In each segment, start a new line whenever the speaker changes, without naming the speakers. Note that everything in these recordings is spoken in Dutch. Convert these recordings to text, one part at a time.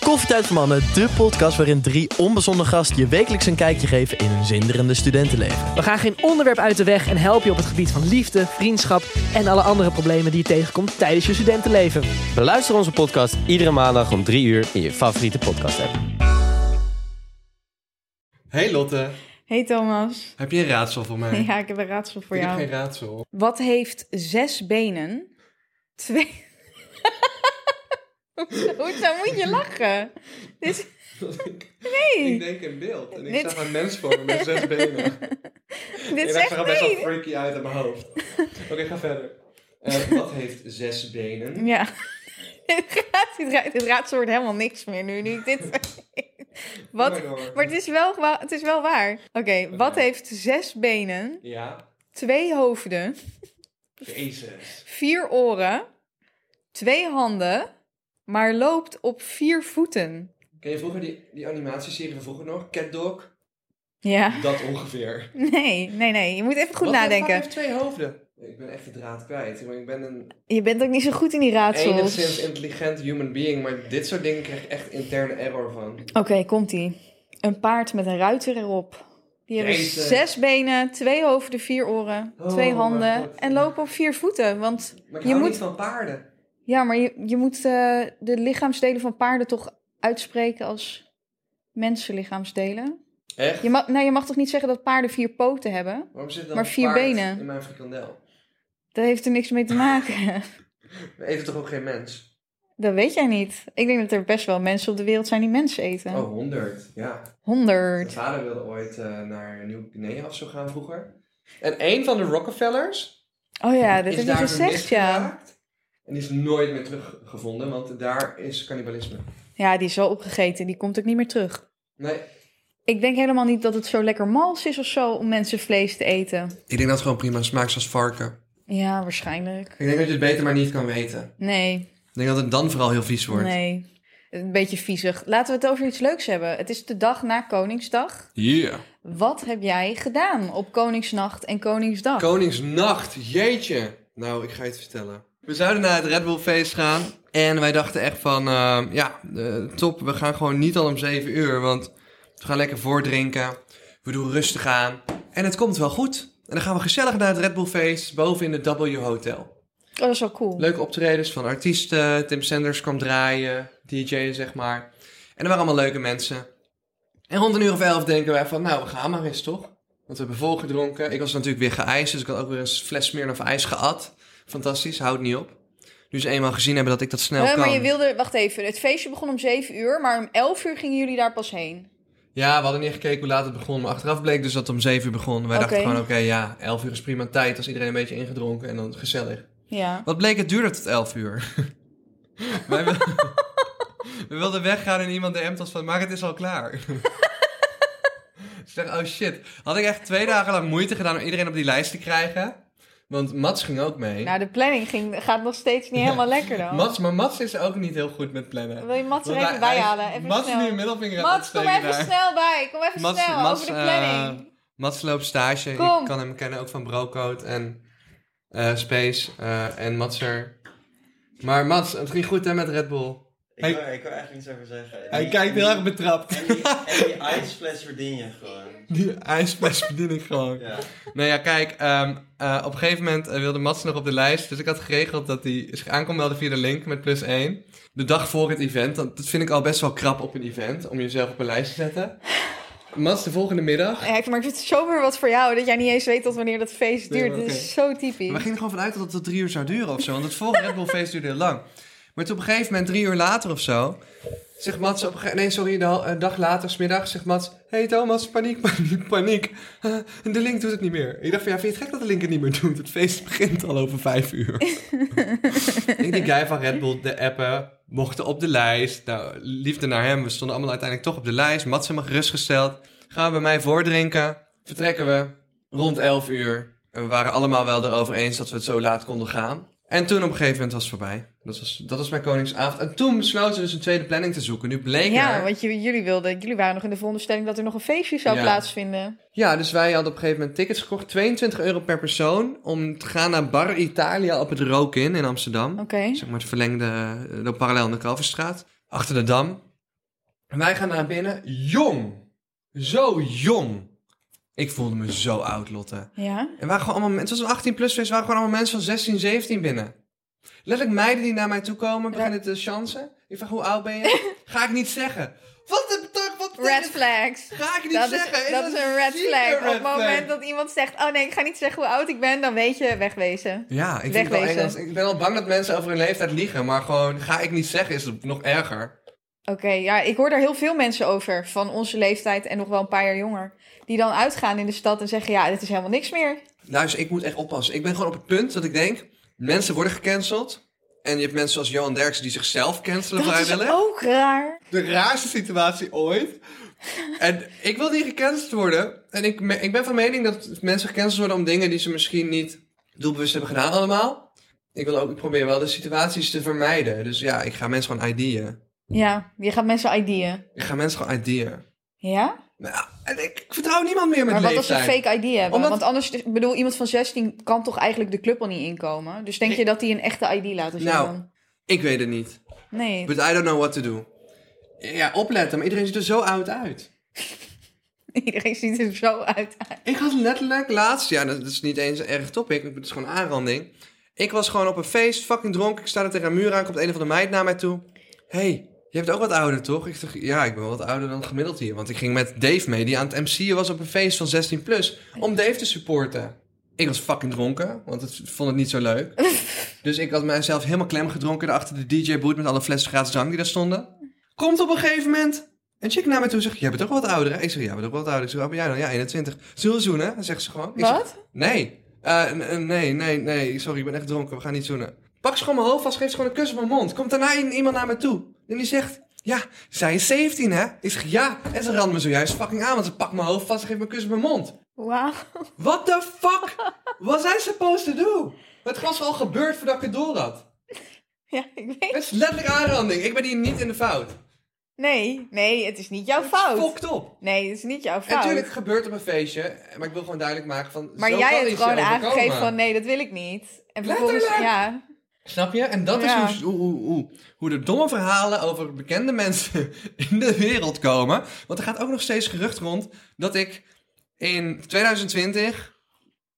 Koffietijd voor Mannen, de podcast waarin drie onbezonnen gasten je wekelijks een kijkje geven in hun zinderende studentenleven.
We gaan geen onderwerp uit de weg en helpen je op het gebied van liefde, vriendschap en alle andere problemen die je tegenkomt tijdens je studentenleven.
Beluister onze podcast iedere maandag om 3 uur in je favoriete podcast app.
Hey Lotte,
Hey Thomas.
heb je een raadsel voor mij?
Ja, ik heb een raadsel voor
ik
jou.
heb geen raadsel.
Wat heeft zes benen? Twee. Hoezo hoezo moet je lachen? Dit is- Nee,
Ik denk in beeld en ik
Dit-
zag een mens voor me met zes benen.
dit
Ik
is
zag er
echt
al best wel
nee.
freaky uit in mijn hoofd. Oké, ga verder. Eh, wat heeft zes benen?
Ja. Dit gaat- dit ra- dit raadsel wordt helemaal niks meer nu. nu ik dit... Wat?
Oh my God.
Maar het is wel, wa- het is wel waar. Oké, wat heeft zes benen,
Ja,
twee hoofden,
jezus.
vier oren, twee handen, maar loopt op vier voeten?
Ken je vroeger die, die animatieserie van vroeger nog? Cat Dog?
Ja.
Dat ongeveer.
Nee, nee, nee. Je moet even goed
Wat de fuck
nadenken.
heeft twee hoofden? Ik ben echt de draad kwijt. Ik ben- Ik ben een
Je bent ook niet zo goed in die raadsels.
enigszins intelligent human being, maar dit soort dingen krijg ik echt interne error van.
Oké, komt-ie. Een paard met een ruiter erop. Die hebben
Jezus.
zes benen, twee hoofden, vier oren,
Oh,
twee
mijn
handen
God.
en lopen op vier voeten. Want
Maar ik
je
hou
moet,
niet van paarden.
ja, maar je, je moet eh, de lichaamsdelen van paarden toch uitspreken als mensenlichaamsdelen?
Echt?
Je mag, nou, je mag toch niet zeggen dat paarden vier poten hebben?
Waarom zit dan
Maar
een
vier
paard
benen.
in mijn frikandel?
Dat heeft er niks mee te maken.
We eten toch ook geen mens?
dat weet jij niet. Ik denk dat er best wel mensen op de wereld zijn die mensen eten.
Oh, 100. Ja. Mijn
Honderd.
vader wilde ooit eh, naar Nieuw-Guinea of zo gaan vroeger. En een van de Rockefellers
Oh ja, dat
is
heb je
daar
gezegd, ja.
vermisgeraakt. En die is nooit meer teruggevonden, want daar is cannibalisme.
Ja, die is wel opgegeten. Die komt ook niet meer terug.
Nee.
Ik denk helemaal niet dat het zo lekker mals is of zo om mensen vlees te eten.
Ik denk dat het gewoon prima smaakt als varken.
Ja, waarschijnlijk.
Ik denk dat je het beter maar niet kan weten.
Nee,
Ik denk dat het dan vooral heel vies wordt.
nee. Een beetje viezig. Laten we het over iets leuks hebben. Het is de dag na Koningsdag.
Yeah.
Wat heb jij gedaan op Koningsnacht en Koningsdag?
Koningsnacht, jeetje. Nou, ik ga je het vertellen. We zouden naar het Red Bull feest gaan. En wij dachten echt van, eh, ja, eh, top, we gaan gewoon niet al om 7 uur. Want we gaan lekker voordrinken. We doen rustig aan. En het komt wel goed. En dan gaan we gezellig naar het Red Bull feest boven in de W Hotel.
oh, dat is wel cool.
Leuke optredens van artiesten. Tim Sanders kwam draaien. DJ, zeg maar. En er waren allemaal leuke mensen. En rond een uur of elf denken wij van, nou, we gaan maar eens, toch? Want we hebben volgedronken. Ik was natuurlijk weer geëist, dus ik had ook weer een fles Smirnoff ijs geat. Fantastisch, houdt niet op. Nu ze eenmaal gezien hebben dat ik dat snel
Eh,
nou kan.
maar je wilde, wacht even, het feestje begon om 7 uur, maar om 11 uur gingen jullie daar pas heen.
Ja, we hadden niet gekeken hoe laat het begon. Maar achteraf bleek dus dat het om zeven uur begon. Wij dachten
Oké.
gewoon, oké, ja, elf uur is prima tijd. Als iedereen een beetje ingedronken en dan gezellig.
Ja.
Wat bleek, het duurde tot 11 uur. Wij wil- We wilden weggaan en iemand DM't ons van, maar het is al klaar. ik zeg, oh shit. Had ik echt twee dagen lang moeite gedaan om iedereen op die lijst te krijgen. Want Mats ging ook mee.
Nou, de planning ging, gaat nog steeds niet helemaal lekker dan.
Mats, maar Mats is ook niet heel goed met plannen.
Wil je Mats er
Want
even
hij-
bij halen? Even
Mats
snel.
nu een middelvinger aan het
Mats, kom
opsteken daar. eh,
even snel bij. Kom even
Mats-
snel
Mats,
over de planning.
Mats loopt stage.
Kom.
Ik kan hem kennen ook van Brocoat en eh, Space eh, en Matser. Maar Mats, het ging goed hè met Red Bull.
Ik,
Hij-
wil, ik wil echt niets over zeggen.
Hij
Die-
kijkt heel
die-
erg betrapt.
En die, en die ijsfles verdien je gewoon.
Die ijsples verdien ik gewoon.
Ja.
Nou ja, kijk, ehm, eh, op een gegeven moment eh, wilde Mats nog op de lijst. Dus ik had geregeld dat hij zich aan kon melden via de link met plus 1. De dag voor het event. want Dat vind ik al best wel krap op een event, om jezelf op een lijst te zetten. Mats, de volgende middag.
Ja, ik- Eh, maar ik vind het zo weer wat voor jou dat jij niet eens weet tot wanneer dat feest
Nee,
duurt.
maar
Dit
oké.
is zo typisch.
We gingen er gewoon vanuit dat het tot drie uur zou duren of zo. Want het vorige Red Bull feest duurde heel lang. Maar toen op een gegeven moment, drie uur later of zo... Zegt Mats op een gegeven Nee, sorry, de hal- een dag later, smiddag, zegt Mats... hey Thomas, paniek, paniek, paniek. Eh, de link doet het niet meer. Ik dacht van, ja, vind je het gek dat de link het niet meer doet? Het feest begint al over vijf uur. ik die guy van Red Bull, de appen, mochten op de lijst. Nou, liefde naar hem. We stonden allemaal uiteindelijk toch op de lijst. Mats helemaal gerustgesteld. Gaan we bij mij voordrinken. Vertrekken we rond 11 uur. En we waren allemaal wel erover eens dat we het zo laat konden gaan. En toen op een gegeven moment was het voorbij. Dat was, dat was mijn Koningsavond. En toen besloten we dus een tweede planning te zoeken. Nu bleek
ja,
er-
want jullie, jullie, wilden, jullie waren nog in de veronderstelling dat er nog een feestje zou
Ja.
plaatsvinden.
Ja, dus wij hadden op een gegeven moment tickets gekocht. 22 euro per persoon. Om te gaan naar Bar Italia op het Rokin in Amsterdam.
Oké.
Zeg maar het verlengde, eh, de parallel aan de Kalverstraat. Achter de Dam. En wij gaan naar binnen. Jong. Zo jong. Ik voelde me zo oud, Lotte.
Ja?
En waren gewoon allemaal mensen, het was een 18 plus feest, waren gewoon allemaal mensen van 16, 17 binnen. Letterlijk meiden die naar mij toe komen, beginnen te chansen. Ik vraag, hoe oud ben je? Ga ik niet zeggen. Wat de betek- wat betekent-
Red flags.
Ga ik niet
Dat is,
zeggen.
dat is een red
zieke
flag. Op het
red
moment
flag.
dat iemand zegt: Oh nee, ik ga niet zeggen hoe oud ik ben, dan weet je, wegwezen.
Ja, ik, vind het wel
Wegwezen.
eng als- ik ben al bang dat mensen over hun leeftijd liegen, maar gewoon ga ik niet zeggen is het nog erger.
Oké, ja, ik hoor daar heel veel mensen over van onze leeftijd en nog wel een paar jaar jonger. Die dan uitgaan in de stad en zeggen: Ja, dit is helemaal niks meer.
Luister, ik moet echt oppassen. Ik ben gewoon op het punt dat ik denk, mensen worden gecanceld. En je hebt mensen zoals Johan Derksen die zichzelf cancelen
Dat is
vrijwillig.
ook raar.
De raarste situatie ooit. En ik wil niet gecanceld worden. En ik, me- ik ben van mening dat mensen gecanceld worden om dingen die ze misschien niet doelbewust hebben gedaan allemaal. Ik wil ook, ik probeer wel de situaties te vermijden. Dus ja, ik ga mensen gewoon ID'en.
Ja, je gaat mensen ID'en.
Ik ga mensen gewoon ID'en.
Ja?
Maar ja, en ik, ik vertrouw niemand meer met
Maar wat als ze
leeftijd.
een fake ID hebben?
Omdat-
Want anders, ik bedoel, iemand van 16 kan toch eigenlijk de club al niet inkomen. Dus denk je dat die een echte ID laten zien
Nou.
dan?
Ik weet het niet.
Nee.
But I don't know what to do. Ja, opletten. Maar iedereen ziet er zo oud uit.
Iedereen ziet er zo uit.
Ik had letterlijk laatst, ja, dat is niet eens een erg topic, het is gewoon een aanranding. Ik was gewoon op een feest, fucking dronken. Ik sta er tegen een muur aan, komt een van de meid naar mij toe. Hé, hey, je hebt ook wat ouder, toch? Ik zeg, ja, ik ben wel wat ouder dan gemiddeld hier. Want ik ging met Dave mee, die aan het MC'en was op een feest van 16 plus, om Dave te supporten. Ik was fucking dronken, want ik vond het niet zo leuk. Dus ik had mijzelf helemaal klem gedronken daar achter de DJ-boot met alle flessen gratis drank die daar stonden. Komt op een gegeven moment een chick naar me toe zegt, jij bent ook wat ouder, hè? Ik zeg, ja, bent ook wat ouder. Ik zeg, wat ben jij dan? Ja, 21. Zullen we zoenen? Dan zegt ze gewoon. Ik zeg,
Wat?
nee. Eh, n- n- nee, nee, nee. Sorry, ik ben echt dronken. We gaan niet zoenen. Pak ze gewoon mijn hoofd vast, geeft ze gewoon een kus op mijn mond. Komt daarna i- iemand naar me toe. En die zegt, ja, zij is 17, hè? Ik zeg, ja. En ze rand me zojuist fucking aan, want ze pakt mijn hoofd vast en geeft me een kus op mijn mond.
Wauw.
What the fuck? What zijn supposed to do? Het was al gebeurd voordat ik het door had.
Ja, ik weet.
Het is letterlijk aanranding. Ik ben hier niet in de fout.
Nee, nee, het is niet jouw fout.
Fokt op.
Nee, het is niet jouw fout.
Natuurlijk gebeurt op een feestje, maar ik wil gewoon duidelijk maken van.
Maar
zo kan
jij hebt
iets je
gewoon
overkomen.
aangegeven van nee, dat wil ik niet. En vervolgens,
Letterlijk.
ja.
Snap je? En dat
Ja.
is hoe, hoe, hoe, hoe, hoe de domme verhalen over bekende mensen in de wereld komen. Want er gaat ook nog steeds gerucht rond dat ik in 2020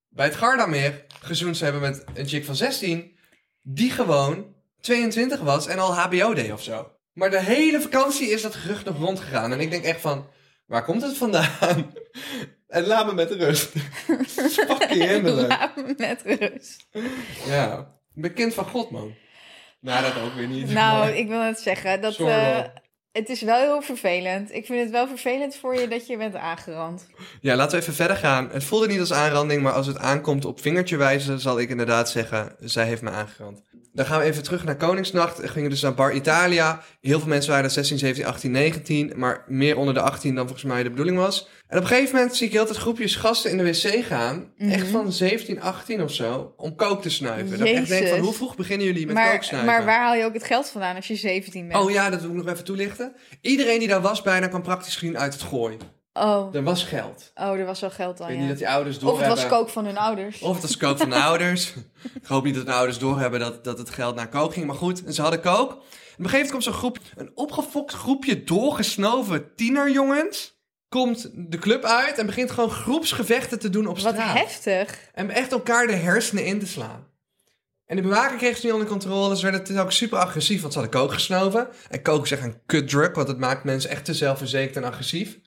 bij het Gardameer gezoend zou hebben met een chick van 16, die gewoon 22 was en al HBO deed of zo. Maar de hele vakantie is dat gerucht nog rondgegaan. En ik denk echt van, waar komt het vandaan? En laat me met rust. Fucking hinderlijk.
Laat me met rust.
Ja, ik ben kind van God, man. Nou, dat ook weer niet.
Nou,
Maar-
ik wil net zeggen dat
Sorry,
eh,
wel.
het is wel heel vervelend. Ik vind het wel vervelend voor je dat je bent aangerand.
Ja, laten we even verder gaan. Het voelde niet als aanranding, maar als het aankomt op vingertje wijzen, zal ik inderdaad zeggen, zij heeft me aangerand. Dan gaan we even terug naar Koningsnacht. We gingen dus naar Bar Italia. Heel veel mensen waren er 16, 17, 18, 19, maar meer onder de 18 dan volgens mij de bedoeling was. En op een gegeven moment zie ik heel tijd groepjes gasten in de wc gaan,
Mhm.
echt van 17, 18 of zo, om kook te snuiven. Dat ik echt denk van,
Jezus.
hoe vroeg beginnen jullie met kook
Maar,
snuiven?
maar waar haal je ook het geld vandaan als je 17 bent?
Oh ja, dat moet ik nog even toelichten. Iedereen die daar was bijna kwam praktisch gezien uit het gooi.
Oh,
Er was geld.
oh er was wel geld
Ik
al,
weet
ja.
niet dat die ouders
Of het
doorhebben.
was kook van hun ouders.
Of het was kook van de ouders. Ik hoop niet dat de ouders doorhebben dat, dat het geld naar kook ging. Maar goed, en ze hadden kook. En Op een gegeven moment komt zo'n groep, een opgefokt groepje doorgesnoven tienerjongens. Komt de club uit en begint gewoon groepsgevechten te doen op
Wat
straat.
heftig.
En echt elkaar de hersenen in te slaan. En de bewaker kreeg ze niet onder controle. Ze werden dus ook super agressief, want ze hadden kook gesnoven. En kook is echt een kutdruk, want het maakt mensen echt te zelfverzekerd en agressief.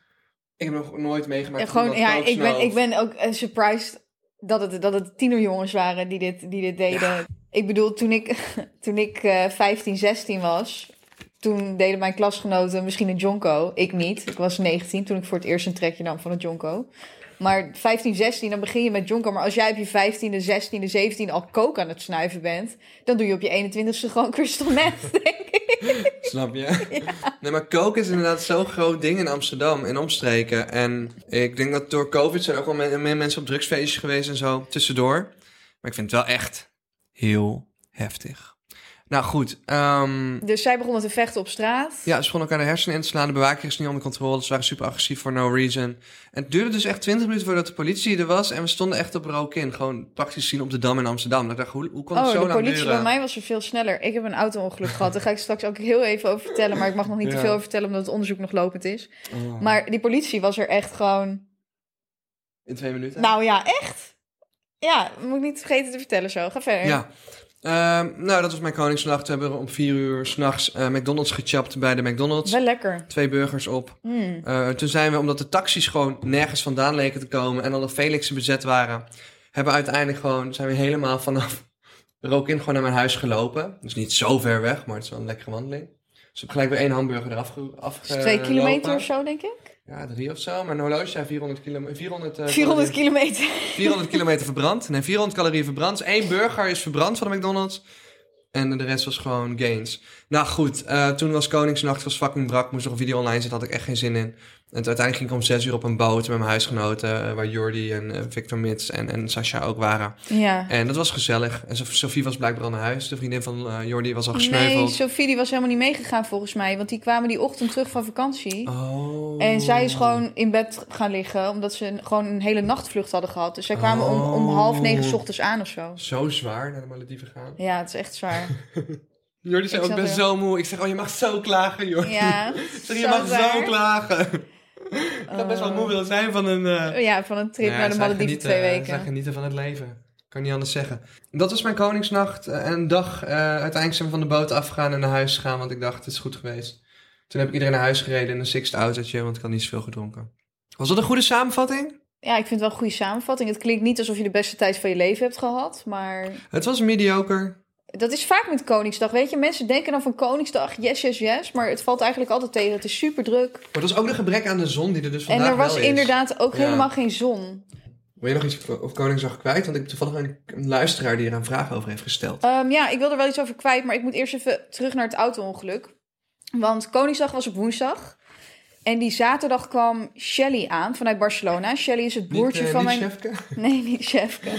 Ik heb nog nooit meegemaakt.
En
dat
gewoon,
iemand
ja,
kook
ik ben,
snoof.
ik ben ook eh, surprised dat het, dat het tienerjongens waren die dit, die dit deden. Ik bedoel, toen ik, toen ik eh 15, 16 was, toen deden mijn klasgenoten misschien een jonko. Ik niet. Ik was 19 toen ik voor het eerst een trekje nam van een jonko. Maar 15, 16, dan begin je met jonko. Maar als jij op je 15e, 16e, 17e al kook aan het snuiven bent... dan doe je op je 21ste gewoon crystal meth, denk ik.
Snap je? Nee, maar kook is inderdaad zo'n groot ding in Amsterdam en omstreken. En ik denk dat door COVID zijn ook wel me- meer mensen op drugsfeestjes geweest en zo tussendoor. Maar ik vind het wel echt heel heftig. Nou goed, ehm,
Dus zij begonnen te vechten op straat.
ja, ze begonnen elkaar de hersenen in te slaan. De bewaking is niet onder controle. Ze waren super agressief voor no reason. En het duurde dus echt 20 minuten voordat de politie er was. En we stonden echt op rook in. Gewoon praktisch zien op de Dam in Amsterdam. En ik dacht, hoe, hoe kon het
Oh,
zo
de
lang
politie
duren?
bij mij was er veel sneller. Ik heb een auto-ongeluk gehad. Daar ga ik straks ook heel even over vertellen. Maar ik mag nog niet
Ja.
te veel over vertellen, omdat het onderzoek nog lopend is.
Oh.
Maar die politie was er echt gewoon...
In twee minuten?
Nou ja, echt. Ja, moet ik niet vergeten te vertellen zo. Ga verder.
Ja. Ehm, nou, dat was mijn Koningsnacht. We hebben om vier uur s'nachts eh McDonald's gechapt bij de McDonald's.
Wel lekker.
Twee burgers op.
Mm.
Eh, toen zijn we, omdat de taxis gewoon nergens vandaan leken te komen... en alle Felixen bezet waren... hebben we uiteindelijk gewoon, zijn we helemaal vanaf rook in gewoon naar mijn huis gelopen. Dus niet zo ver weg, maar het is wel een lekkere wandeling. Dus ik heb gelijk weer één hamburger eraf ge-
Dus
afgelopen.
twee kilometer of zo, denk
Eh,
ik.
Ja, drie of zo. Maar een horloge zijn 400 kilometer... 400, eh,
400
calorieën-
kilometer.
400 kilometer verbrand. Nee, 400 calorieën verbrand. Dus één burger is verbrand van de McDonald's. En de rest was gewoon gains. Nou goed, eh, toen was Koningsnacht, was fucking brak. Moest nog een video online zetten, had ik echt geen zin in. En toen uiteindelijk ging ik om zes uur op een boot met mijn huisgenoten. eh, waar Jordi en eh, Victor Mits en, en Sasha ook waren.
Ja.
En dat was gezellig. En Sof- Sophie was blijkbaar al naar huis. De vriendin van eh, Jordi was al
Nee,
gesneuveld.
Sophie die was helemaal niet meegegaan volgens mij. Want die kwamen die ochtend terug van vakantie.
Oh.
En zij is gewoon in bed gaan liggen, omdat ze een- gewoon een hele nachtvlucht hadden gehad. Dus zij kwamen om, om
Oh.
half negen 's ochtends aan of zo.
Zo zwaar naar de Malediven gaan.
Ja, het is echt zwaar.
Jordi zei
Ik
ook, ik
zat
ben
er-
zo moe. Ik zeg, oh, je mag zo klagen, Jordi.
Ja,
Ik zeg, je mag zo klagen. Ik zou best wel moe willen zijn van een... eh,
Oh Ja, van een trip
Nou ja,
naar de
zij
Malediven
genieten-
twee
Zij
weken.
genieten van het leven. Kan niet anders zeggen. Dat was mijn Koningsnacht. eh, En een dag eh, uiteindelijk zijn we van de boot afgegaan en naar huis gegaan. Want ik dacht, het is goed geweest. Toen heb ik iedereen naar huis gereden in een sixth autootje. Want ik had niet zoveel gedronken. Was dat een goede samenvatting?
Ja, ik vind het wel een goede samenvatting. Het klinkt niet alsof je de beste tijd van je leven hebt gehad, maar
Het was mediocre.
dat is vaak met Koningsdag. Weet je, mensen denken dan van Koningsdag, yes, yes, yes, maar het valt eigenlijk altijd tegen. Het is super druk.
Maar het was ook de gebrek aan de zon die er dus
En
vandaag
er was
wel is.
inderdaad ook
Ja.
helemaal geen zon.
Wil je nog iets over Koningsdag kwijt? Want ik heb toevallig een, een luisteraar die er een vraag over heeft gesteld.
Ehm, ja, ik wil er wel iets over kwijt, maar ik moet eerst even terug naar het auto-ongeluk. Want Koningsdag was op woensdag. En die zaterdag kwam Shelly aan vanuit Barcelona. Shelly is het broertje
Niet, eh,
van
niet
mijn.
Sjefke?
Nee, niet Chefke.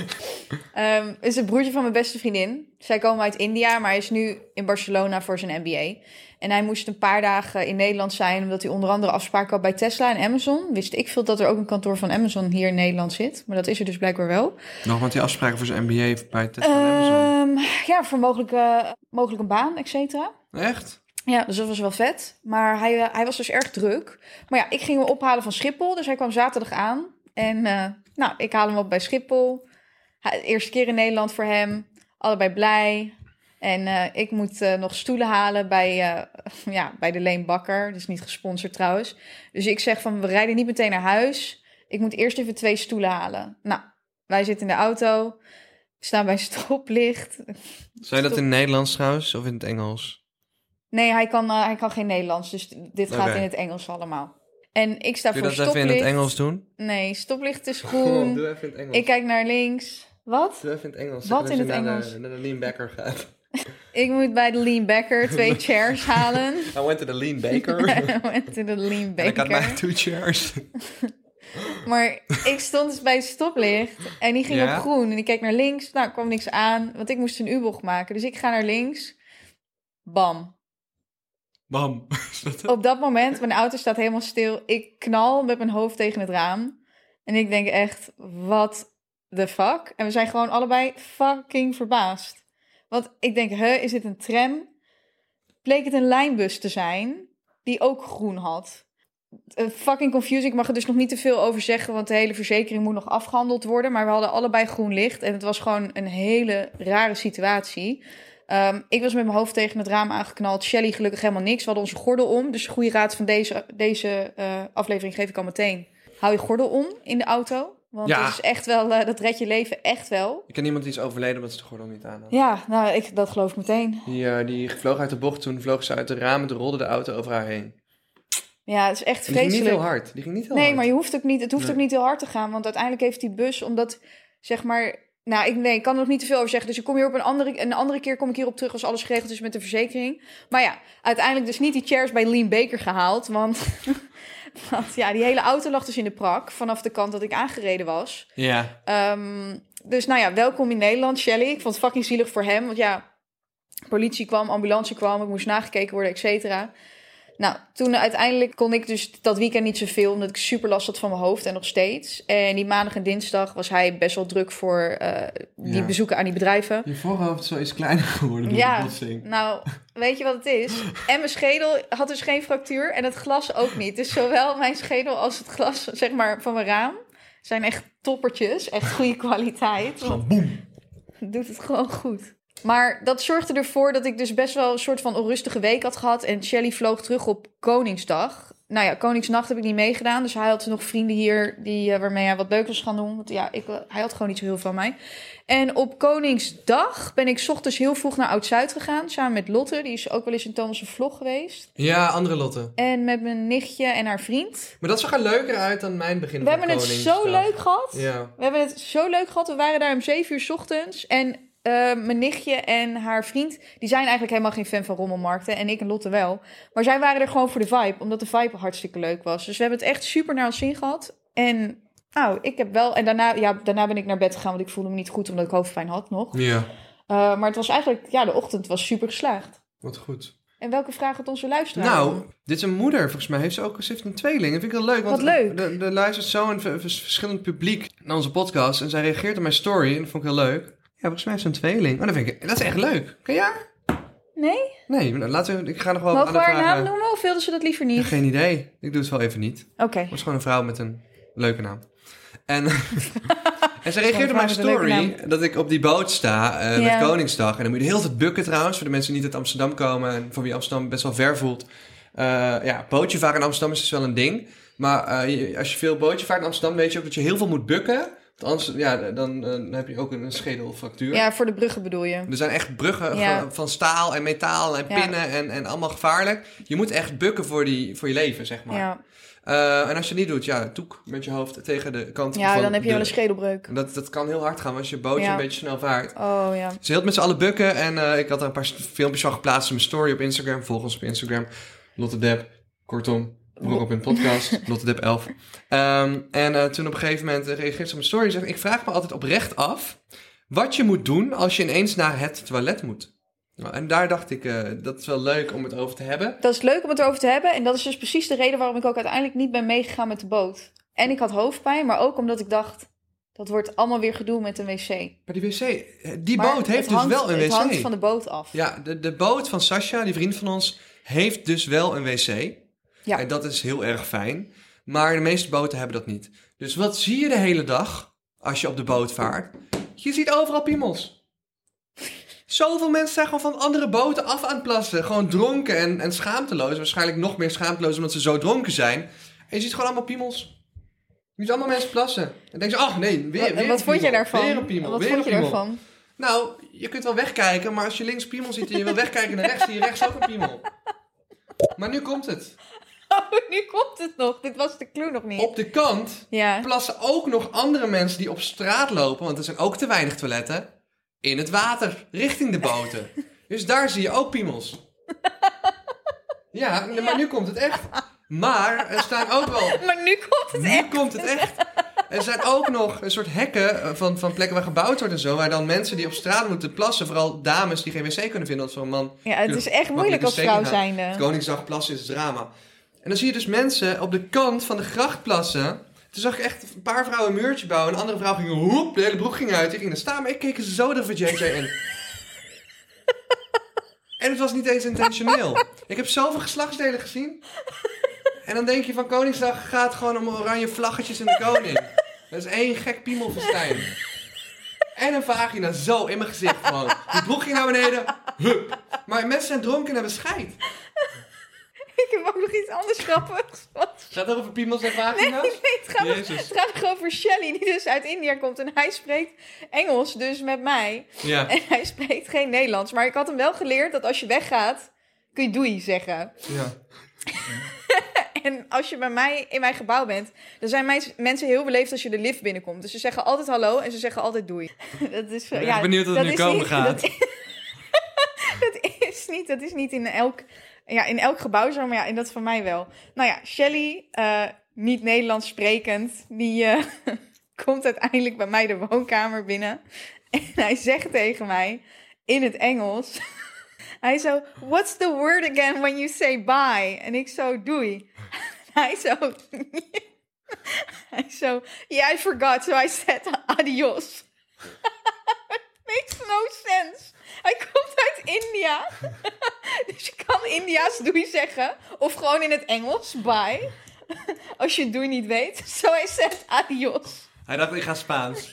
Ehm, is het broertje van mijn beste vriendin. Zij komen uit India, maar hij is nu in Barcelona voor zijn MBA. En hij moest een paar dagen in Nederland zijn, omdat hij onder andere afspraken had bij Tesla en Amazon. Wist ik veel dat er ook een kantoor van Amazon hier in Nederland zit, maar dat is er dus blijkbaar wel.
Nog want die afspraken voor zijn MBA bij Tesla en Amazon.
Ehm, ja, voor mogelijke, mogelijk een baan, et cetera.
Echt?
Ja, dus dat was wel vet. Maar hij, eh, hij was dus erg druk. Maar ja, ik ging hem ophalen van Schiphol. Dus hij kwam zaterdag aan. En eh, nou, ik haal hem op bij Schiphol. Hij- eerste keer in Nederland voor hem. Allebei blij. En eh, ik moet eh, nog stoelen halen bij, eh, ja, bij de Leen Bakker. Dus niet gesponsord trouwens. Dus ik zeg van, we rijden niet meteen naar huis. Ik moet eerst even twee stoelen halen. Nou, wij zitten in de auto. Staan bij een stoplicht.
Zei dat in het Nederlands trouwens of in het Engels?
Nee, hij kan, eh, hij kan geen Nederlands, dus dit gaat
Oké.
in het Engels allemaal. En ik sta
Kun je
voor
dat even in het
stoplicht.
Engels doen?
Nee, stoplicht is groen.
even in het Engels.
ik kijk naar links. Wat?
Doe even in het Engels.
Wat
Zeg maar dat
in het
je naar
Engels?
De, naar de lean backer gaat.
Ik moet bij de Lean Backer twee chairs halen.
I went to the lean baker. En
I went to the Lean
ik had mijn
Backer.
two chairs.
Maar ik stond dus bij het stoplicht en die ging
Ja?
op groen. En ik keek naar links. Nou, er kwam niks aan, want ik moest een U-bocht maken. Dus ik ga naar links. Bam.
Bam.
Op dat moment, mijn auto staat helemaal stil. Ik knal met mijn hoofd tegen het raam. En ik denk echt, what the fuck? En we zijn gewoon allebei fucking verbaasd. Want ik denk, huh, is dit een tram? Bleek het een lijnbus te zijn, die ook groen had. Eh, fucking confusing, ik mag er dus nog niet te veel over zeggen... want de hele verzekering moet nog afgehandeld worden. Maar we hadden allebei groen licht en het was gewoon een hele rare situatie... Ehm, ik was met mijn hoofd tegen het raam aangeknald. Shelly gelukkig helemaal niks. We hadden onze gordel om. Dus goede raad van deze, deze eh, aflevering geef ik al meteen. Hou je gordel om in de auto. Want
Ja.
het is echt wel, eh, dat redt je leven echt wel.
Ik ken iemand die is overleden omdat ze de gordel niet aan had.
Ja, nou, ik, dat geloof ik meteen.
Die, eh, die vloog uit de bocht, toen vloog ze uit de ramen, toen rolde de auto over haar heen. En
Ja, het is echt
die ging niet heel
vreselijk.
hard. Die ging niet heel
Nee,
hard.
maar je hoeft ook niet, het hoeft
Nee.
ook niet heel hard te gaan. Want uiteindelijk heeft die bus, omdat zeg maar. Nou, ik, nee, ik kan er nog niet te veel over zeggen. Dus ik kom hier op een andere, een andere keer kom ik hierop terug als alles geregeld is met de verzekering. Maar ja, uiteindelijk dus niet die chairs bij Lean Baker gehaald. Want, want ja, die hele auto lag dus in de prak vanaf de kant dat ik aangereden was.
Ja.
Ehm, dus nou ja, welkom in Nederland, Shelly. Ik vond het fucking zielig voor hem. Want ja, Politie kwam, ambulance kwam, ik moest nagekeken worden, et cetera. Nou, toen uiteindelijk kon ik dus dat weekend niet zoveel, omdat ik super last had van mijn hoofd en nog steeds. En die maandag en dinsdag was hij best wel druk voor eh, die
Ja.
bezoeken aan die bedrijven.
Je voorhoofd is wel iets kleiner geworden door de
Ja,
botsing.
nou, weet je wat het is? En mijn schedel had dus geen fractuur en het glas ook niet. Dus zowel mijn schedel als het glas zeg maar, van mijn raam zijn echt toppertjes. Echt goede kwaliteit.
Gewoon boem.
Doet het gewoon goed. Maar dat zorgde ervoor dat ik dus best wel een soort van onrustige week had gehad. En Shelly vloog terug op Koningsdag. Nou ja, Koningsnacht heb ik niet meegedaan. Dus hij had nog vrienden hier die, eh, waarmee hij wat leuk was gaan doen. Want ja, ik, eh, hij had gewoon niet zo heel veel van mij. En op Koningsdag ben ik 's ochtends heel vroeg naar Oud-Zuid gegaan. Samen met Lotte. Die is ook wel eens in Thomas' vlog geweest.
Ja, andere Lotte.
En met mijn nichtje en haar vriend.
Maar dat zag er leuker uit dan mijn begin
We
van
hebben het
Koningsdag.
zo leuk gehad.
Ja.
We hebben het zo leuk gehad. We waren daar om 7 uur 's ochtends. En eh, mijn nichtje en haar vriend, die zijn eigenlijk helemaal geen fan van rommelmarkten. En ik en Lotte wel. Maar zij waren er gewoon voor de vibe, omdat de vibe hartstikke leuk was. Dus we hebben het echt super naar ons zin gehad. En nou, ik heb wel. En daarna, ja, daarna ben ik naar bed gegaan, want ik voelde me niet goed omdat ik hoofdpijn had nog.
Ja,
Eh, maar het was eigenlijk, ja, de ochtend was super geslaagd.
wat goed.
En welke vraag had onze luisteraar?
Nou, dit is een moeder, volgens mij. Heeft ze ook ze heeft een tweeling. Dat vind ik heel leuk. Want
Wat leuk.
Er, er luistert zo'n v- vers- verschillend publiek naar onze podcast. En zij reageert op mijn story. En dat vond ik heel leuk. Ja, volgens mij heeft ze een tweeling. Oh, dat vind ik... Dat is echt leuk. Kan jij?
Nee?
Nee, maar laten we... Ik ga nog wel
Mogen we
aan de
haar
vragen-
naam noemen of wilden ze dat liever
Ja,
niet?
eh. geen idee. Ik doe het wel even niet.
Oké.
Het was gewoon een vrouw met een leuke naam. En, en ze reageerde op
vrouw
mijn
met een leuke
story dat ik op die boot sta eh,
Ja.
met Koningsdag. En dan moet je heel veel bukken trouwens, voor de mensen die niet uit Amsterdam komen. En voor wie Amsterdam best wel ver voelt. Eh, ja, bootje varen in Amsterdam is dus wel een ding. Maar eh, je- als je veel bootje vaart in Amsterdam, weet je ook dat je heel veel moet bukken. Want anders ja, dan, eh, dan heb je ook een, een schedelfractuur.
Ja, voor de bruggen bedoel je.
Er zijn echt bruggen
Ja.
van, van staal en metaal en
Ja.
pinnen en, en allemaal gevaarlijk. Je moet echt bukken voor, die, voor je leven, zeg maar.
Ja,
Eh, en als je het niet doet, ja, toek met je hoofd tegen de kant
ja
van
dan heb je wel
de-
een schedelbreuk.
Dat, dat kan heel hard gaan als je bootje
Ja.
een beetje snel vaart.
Oh ja.
Ze hield met z'n allen bukken en eh, ik had er een paar st- filmpjes van geplaatst in mijn story op Instagram. Volg ons op Instagram. Lotte Depp, kortom, broek op in podcast. Lotte Depp 11. Ehm, en eh, toen op een gegeven moment reageerde ze op mijn story en zegt... Ik vraag me altijd oprecht af wat je moet doen als je ineens naar het toilet moet. Nou, en daar dacht ik, eh, dat is wel leuk om het over te hebben.
Dat is leuk om het erover te hebben. En dat is dus precies de reden waarom ik ook uiteindelijk niet ben meegegaan met de boot. En ik had hoofdpijn, maar ook omdat ik dacht... dat wordt allemaal weer gedoe met een wc.
Maar die wc, eh, die
Maar
boot
het
heeft
hangt-
dus wel een wc.
Het hangt van de boot af.
Ja, de, de boot van Sascha, die vriend van ons, heeft dus wel een wc.
Ja.
En dat is heel erg fijn. Maar de meeste boten hebben dat niet. Dus wat zie je de hele dag als je op de boot vaart? Je ziet overal piemels. Zoveel mensen zijn gewoon van andere boten af aan het plassen. Gewoon dronken en, en schaamteloos. Waarschijnlijk nog meer schaamteloos omdat ze zo dronken zijn. En je ziet gewoon allemaal piemels. Je ziet allemaal mensen plassen. En denk je, ach nee, weer,
Wat-
weer een
wat vond je
piemel,
daarvan?
Weer een piemel,
wat
weer
vond
een
je
piemel.
daarvan?
Nou, je kunt wel wegkijken, maar als je links piemel ziet en je wil wegkijken naar rechts, zie je rechts ook een piemel. Maar nu komt het.
Oh, nu komt het nog. Dit was de clue nog niet.
Op de kant
Ja.
plassen ook nog andere mensen die op straat lopen, want er zijn ook te weinig toiletten, in het water, richting de boten. Dus daar zie je ook piemels. Ja, n- maar nu komt het echt. Maar er staan ook wel
Maar nu komt het echt.
nu komt het echt. Er zijn ook nog een soort hekken eh, van, van plekken waar gebouwd wordt en zo. Waar dan mensen die op straat moeten plassen, vooral dames die geen wc kunnen vinden, als zo'n man.
Ja, het is echt moeilijk als vrouw zijnde.
Het Koningsdag plassen is drama. En dan zie je dus mensen op de kant van de gracht plassen. Toen zag ik echt een paar vrouwen een muurtje bouwen. Een andere vrouw ging hoep, de hele broek ging uit. Die ging er staan, maar ik keek er zo de JJ in. En het was niet eens intentioneel. Ik heb zoveel geslachtsdelen gezien. En dan denk je van Koningsdag gaat gewoon om oranje vlaggetjes en de koning. Dat is één gek piemelfestijn. En een vagina zo in mijn gezicht gewoon. Die broek ging naar beneden. Hup. Maar mensen zijn dronken en hebben scheid.
Ik heb ook nog iets anders grappigs. Want-
Gaat het over piemels en
Nee,
vagina's?
nee, het gaat, nog-
Jezus.
het gaat nog over Shelly, die dus uit India komt. En hij spreekt Engels, dus met mij.
Ja.
En hij spreekt geen Nederlands. Maar ik had hem wel geleerd dat als je weggaat, kun je doei zeggen.
ja.
En als je bij mij in mijn gebouw bent, dan zijn mijn, mensen heel beleefd als je de lift binnenkomt. Dus ze zeggen altijd hallo en ze zeggen altijd doei. Dat is,
ben
ja,
echt benieuwd wat er
dat
nu
is
komen
niet-
gaat.
Dat, dat is niet, dat is niet in elk, ja, in elk gebouw zo, maar ja, in dat van mij wel. Nou ja, Shelly, eh, niet Nederlands sprekend, die eh, komt uiteindelijk bij mij de woonkamer binnen. En hij zegt tegen mij in het Engels. Hij zo, what's the word again when you say bye? En ik zo, doei. Hij zo, hij zo, yeah, I forgot, so I said adios. Makes no sense. Hij komt uit India. dus je kan India's doei zeggen. Of gewoon in het Engels, bye. Als je doei niet weet. So I said adios.
Hij dacht, ik ga Spaans.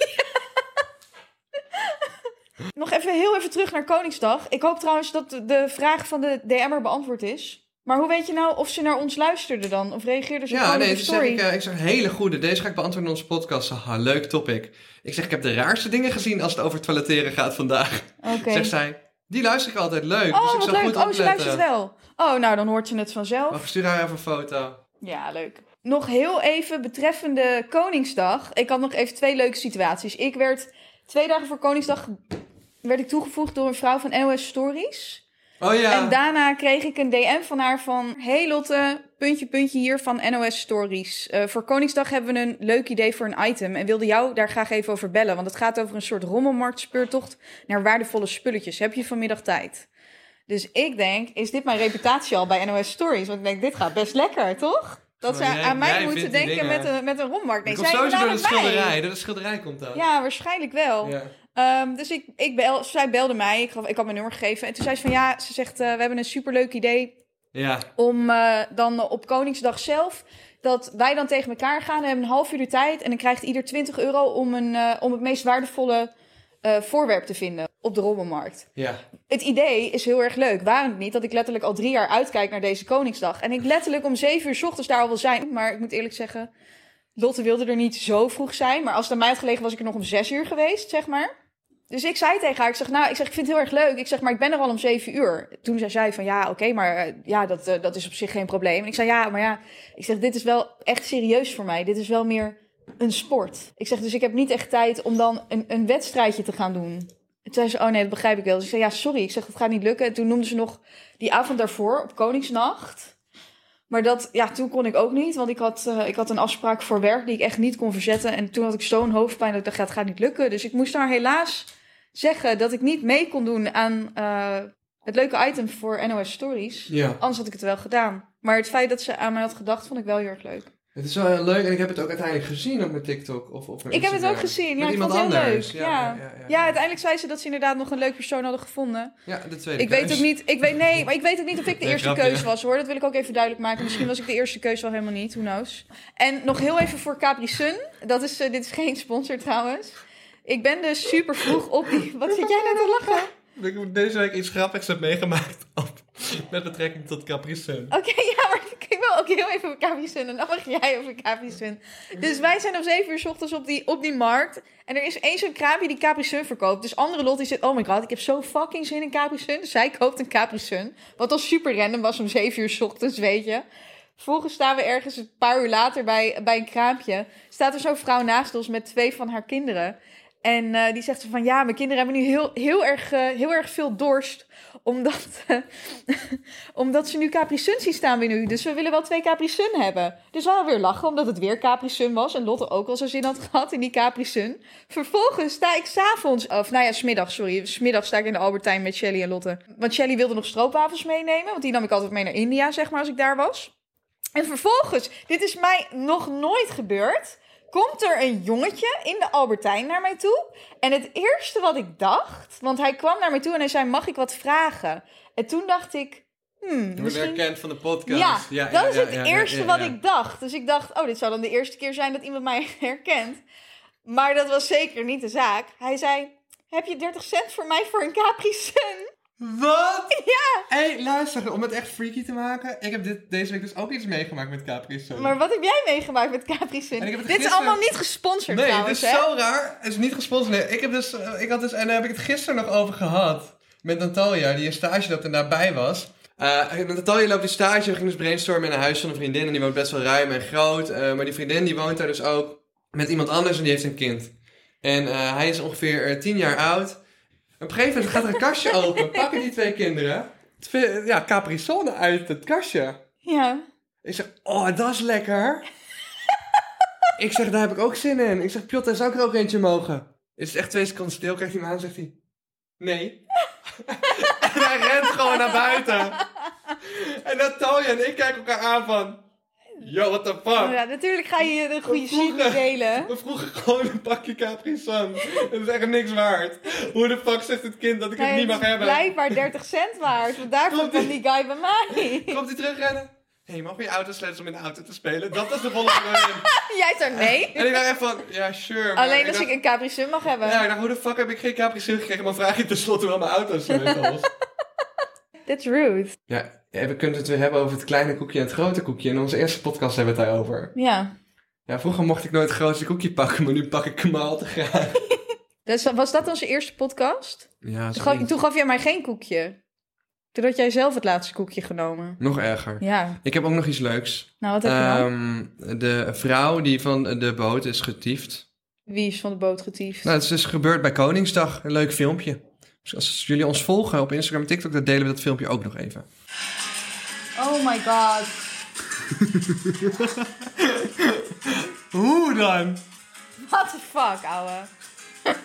Nog even heel even terug naar Koningsdag. Ik hoop trouwens dat de vraag van de DM'er beantwoord is. Maar hoe weet je nou of ze naar ons luisterden dan? Of reageerden ze
Ja,
gewoon
nee,
op
toen
de
zeg
story?
ik, eh, ik zeg hele goede. Deze ga ik beantwoorden in onze podcast. Haha, leuk topic. Ik zeg, ik heb de raarste dingen gezien als het over toiletteren gaat vandaag.
Oké.
Zegt zij, die luister ik altijd leuk. dus ik
Oh, wat
zal
leuk.
goed
Oh, ze
opletten.
luistert wel. Oh, nou, dan hoort ze het vanzelf.
Wacht, stuur haar even een foto.
Ja, leuk. Nog heel even betreffende Koningsdag. Ik had nog even twee leuke situaties. Ik werd twee dagen voor Koningsdag werd ik toegevoegd door een vrouw van NOS Stories.
Oh ja.
En daarna kreeg ik een DM van haar van... Hey Lotte, puntje puntje hier van NOS Stories. Eh, voor Koningsdag hebben we een leuk idee voor een item... en wilde jou daar graag even over bellen. Want het gaat over een soort rommelmarktspeurtocht... naar waardevolle spulletjes. Heb je vanmiddag tijd? Dus ik denk, is dit mijn reputatie al bij NOS Stories? Want ik denk, dit gaat best lekker, toch? Dat ze
Gewoon, jij-
aan
jij
mij
vindt die
moeten denken
dingen.
met een, met een rommelmarkt. Nee,
Die komt
zij
sowieso door de
waren erbij.
schilderij. Door de schilderij komt dat.
Ja, waarschijnlijk wel.
Ja.
Ehm, dus ik, ik bel, zij belde mij, ik, gaf- ik had mijn nummer gegeven. En toen zei ze van ja, ze zegt eh, we hebben een superleuk idee
Ja.
om eh, dan op Koningsdag zelf... dat wij dan tegen elkaar gaan, we hebben een half uur de tijd... en dan krijgt ieder 20 euro om, een, eh, om het meest waardevolle eh, voorwerp te vinden op de rommelmarkt.
Ja.
Het idee is heel erg leuk. Waarom het niet dat ik letterlijk al drie jaar uitkijk naar deze Koningsdag? En ik letterlijk om zeven uur 's ochtends daar al wil zijn. Maar ik moet eerlijk zeggen, Lotte wilde er niet zo vroeg zijn. Maar als het aan mij had gelegen, was ik er nog om zes uur geweest, zeg maar. Dus ik zei tegen haar, ik zeg, nou, ik, zeg, ik vind het heel erg leuk. Ik zeg, maar ik ben er al om zeven uur. Toen zei zij van, ja, oké, maar eh, ja, dat, eh, dat is op zich geen probleem. En ik zei, ja, maar ja, ik zeg, dit is wel echt serieus voor mij. Dit is wel meer een sport. Ik zeg, dus ik heb niet echt tijd om dan een, een wedstrijdje te gaan doen. Toen zei ze, oh nee, dat begrijp ik wel. Dus ik zei, ja, sorry. Ik zeg, dat gaat niet lukken. En toen noemde ze nog die avond daarvoor op Koningsnacht. Maar dat, ja, toen kon ik ook niet. Want ik had, eh, ik had een afspraak voor werk die ik echt niet kon verzetten. En toen had ik zo'n hoofdpijn dat ik dacht, ja, het gaat niet lukken. Dus ik moest haar helaas zeggen dat ik niet mee kon doen aan eh, het leuke item voor NOS Stories.
Ja.
Anders had ik het wel gedaan. Maar het feit dat ze aan mij had gedacht, vond ik wel heel erg leuk.
Het is wel heel leuk en ik heb het ook uiteindelijk gezien op mijn TikTok of op mijn
Ik heb het
Instagram.
ook gezien. Ja,
Met
ik vond
iemand
het heel
anders.
leuk. Ja, ja, uiteindelijk zei ze dat ze inderdaad nog een leuk persoon hadden gevonden.
Ja, de tweede
Ik weet
keus.
ook niet, ik weet, nee, maar ik weet ook niet of ik de
Nee,
eerste
grapje.
keus was hoor. Dat wil ik ook even duidelijk maken. Misschien was ik de eerste keus wel helemaal niet, who knows. En nog heel even voor Capri Sun. Dat is, eh, dit is geen sponsor trouwens. Ik ben dus super vroeg op die... Wat zit jij nou te lachen?
Ik heb deze week iets grappigs heb meegemaakt op, met betrekking tot Capri Sun.
Oké, ja, maar ik wil ook heel even over Capri Sun. En dan mag jij over Capri Sun. Dus wij zijn om 7 uur 's ochtends op die, op die markt. En er is één zo'n kraampje die Capri Sun verkoopt. Dus andere lot die zit, oh my god, ik heb zo fucking zin in Capri Sun. Dus zij koopt een Capri Sun. Wat al super random was om 7 uur 's ochtends, weet je. Vervolgens staan we ergens een paar uur later bij, bij een kraampje. Staat er zo'n vrouw naast ons met twee van haar kinderen. En eh, die zegt zo van, ja, mijn kinderen hebben nu heel, heel, erg, eh, heel erg veel dorst. Omdat, eh, omdat ze nu Capri Sun zien staan weer nu. Dus we willen wel twee Capri Sun hebben. Dus we hadden weer lachen, omdat het weer Capri Sun was. En Lotte ook al zo zin had gehad in die Capri Sun. Vervolgens sta ik s'avonds... Of nou ja, smiddags, sorry. Smiddags sta ik in de Albertijn met Shelly en Lotte. Want Shelly wilde nog stroopwafels meenemen. Want die nam ik altijd mee naar India, zeg maar, als ik daar was. En vervolgens, dit is mij nog nooit gebeurd... komt er een jongetje in de Albertijn naar mij toe. En het eerste wat ik dacht... Want hij kwam naar mij toe en hij zei, mag ik wat vragen? En toen dacht ik... Hmm,
Je wordt
misschien...
herkend van de
Ja,
podcast.
dat is
dus ja,
het
ja, ja,
eerste
ja,
wat
ja.
ik dacht. Dus ik dacht, oh, dit zou dan de eerste keer zijn dat iemand mij herkent. Maar dat was zeker niet de zaak. Hij zei, heb je 30 cent voor mij voor een Capri Sun?
Wat? Ja! Hé, hey, luister, om het echt freaky te maken. Ik heb dit, deze week dus ook iets meegemaakt met Capri Sun.
Maar wat heb jij meegemaakt met Capri Sun?
En ik heb het
Dit is
gisteren-
allemaal niet gesponsord
nee,
trouwens,
het is
hè?
zo raar. Het is niet gesponsord. Nee, ik heb dus, eh, ik had dus, en daar heb ik het gisteren nog over gehad. Met Natalia, die een stage loopt en daarbij was. Eh, en Natalia loopt die stage, we gingen dus brainstormen in een huis van een vriendin. En die woont best wel ruim en groot. eh, maar die vriendin die woont daar dus ook met iemand anders en die heeft een kind. En eh, hij is ongeveer eh, 10 jaar oud. Op een gegeven moment gaat er een kastje open. Pakken die twee kinderen. twee- Ja, Capri Sonne uit het kastje.
Ja.
Ik zeg, oh, dat is lekker. ik zeg, daar heb ik ook zin in. Ik zeg, Pjotta, zou ik er ook eentje mogen? Is het echt twee seconden stil? Kijkt hij me aan en zegt hij, nee. en hij rent gewoon naar buiten. En dat Talja en ik kijken elkaar aan van... Yo, what the fuck?
Oh Ja, natuurlijk ga je de goede shit
Vroeger.
niet delen.
We vroegen gewoon een pakje Capri Sun. Het is echt niks waard. Hoe de fuck zegt het kind dat ik het
Nee,
niet mag
het is
hebben?
Blijkbaar 30 cent waard, want daar
Klopt
komt dan die guy bij mij.
Komt hij terugrennen? Hé, hey, mag je auto sleutels om in de auto te spelen? Dat was de volgende run.
Jij zei nee.
En ik dacht echt van, ja, sure. maar
Alleen als
dacht-
ik een Capri Sun mag hebben.
Ja, ik dacht, hoe de fuck heb ik geen Capri Sun gekregen? Maar vraag je tenslotte wel mijn auto sleutels.
That's rude.
Ja, ja, we kunnen het weer hebben over het kleine koekje en het grote koekje. In onze eerste podcast hebben we het daarover.
Ja.
Ja, vroeger mocht ik nooit het grootste koekje pakken, maar nu pak ik hem al te graag.
Dus was dat onze eerste podcast?
Ja,
Toen gaf, toen gaf jij mij geen koekje. Toen had jij zelf het laatste koekje genomen.
nog erger.
Ja.
Ik heb ook nog iets leuks.
Nou, wat heb je dan?
Ehm, de vrouw die van de boot is getiefd.
Wie is van de boot getiefd?
Nou, het is dus gebeurd bij Koningsdag. Een leuk filmpje. Dus als jullie ons volgen op Instagram en TikTok, dan delen we dat filmpje ook nog even.
Oh my god.
Hoe dan?
What the fuck, ouwe.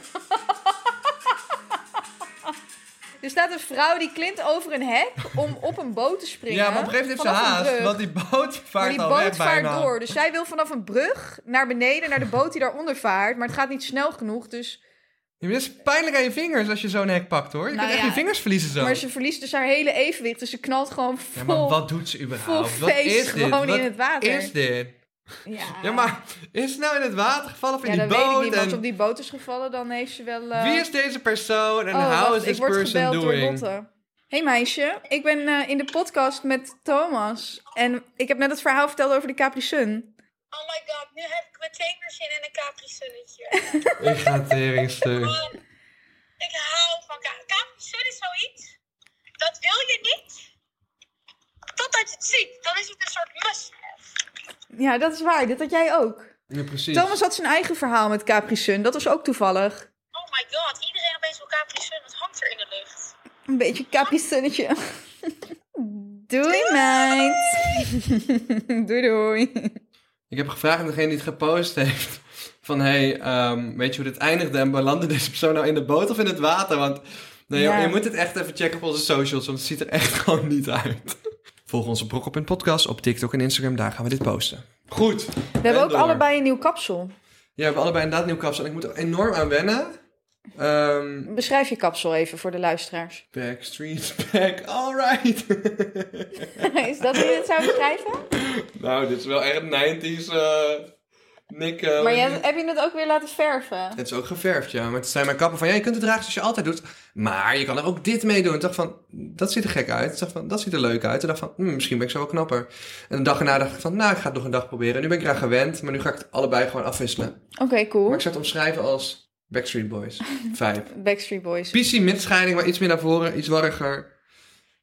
er staat een vrouw die klimt over een hek om op een boot te springen.
Ja, maar op een gegeven moment heeft
vanaf
ze
een
haast,
brug.
want die boot
Maar
vaart
die
al
boot
weg
vaart
bijna.
door. Dus zij wil vanaf een brug naar beneden, naar de boot die daaronder vaart. Maar het gaat niet snel genoeg, dus...
Ja, maar dit is pijnlijk aan je vingers als je zo'n hek pakt, hoor. Je
Nou
kunt echt
ja.
je vingers verliezen zo.
Maar ze verliest dus haar hele evenwicht. Dus ze knalt gewoon
Ja,
vol,
maar wat doet ze
vol
überhaupt? Wat
feest
is dit?
gewoon
Wat
in het water.
is dit?
Ja.
Ja, maar is ze nou in het water gevallen van
Ja,
die
dan weet ik
boot?
niet. Maar als
en
op die boot is gevallen, dan heeft ze wel... eh,
Wie is deze persoon en
Oh,
how
wacht,
is
ik
this
word
person
gebeld door
doing?
Lotte. Hey meisje, ik ben eh, in de podcast met Thomas. En ik heb net het verhaal verteld over de Capri Sun.
Oh my god, nu heb ik meteen weer zin in een Capri-sunnetje.
Ik ga teringstuk.
Want ik hou van ka- Capri-sun is zoiets. Dat wil je niet. Totdat je het ziet. Dan is het een soort must.
Ja, dat is waar. Dit had jij ook.
Ja, precies.
Thomas had zijn eigen verhaal met Capri Sun. Dat was ook toevallig.
Oh my god, iedereen opeens wil Capri-sun. Het hangt er in de lucht.
Een beetje Capri Sunnetje. Doei, meid. doei, doei.
Ik heb gevraagd aan degene die het gepost heeft. Van, hey, ehm, weet je hoe dit eindigde? En belandde deze persoon nou in de boot of in het water? Want nee, joh,
Ja.
je moet het echt even checken op onze socials. Want het ziet er echt gewoon niet uit. Volg onze Brok op een podcast op TikTok en Instagram. Daar gaan we dit posten. Goed.
We hebben ook
door.
allebei een nieuw kapsel.
Ja, we hebben allebei inderdaad nieuw kapsel. En ik moet er enorm aan wennen. Ehm
Beschrijf je kapsel even voor de luisteraars.
backstreets back, alright.
is dat hoe je het zou beschrijven?
nou, dit is wel echt 90s eh Nick. eh,
Maar jij, heb je het ook weer laten verven?
Het is ook geverfd, ja. Maar het zijn mijn kappen van, ja, je kunt het dragen zoals je altijd doet. Maar je kan er ook dit mee doen. Ik dacht van, dat ziet er gek uit. Ik dacht van, dat ziet er leuk uit. En dacht van, hmm, misschien ben ik zo wel knapper. En de dag erna dacht ik van, nou, ik ga het nog een dag proberen. Nu ben ik eraan gewend, maar nu ga ik het allebei gewoon afwisselen.
Oké, cool.
Maar ik zou het omschrijven als Backstreet Boys. Vibe.
Backstreet Boys.
PC met scheiding, maar iets meer naar voren, iets warriger.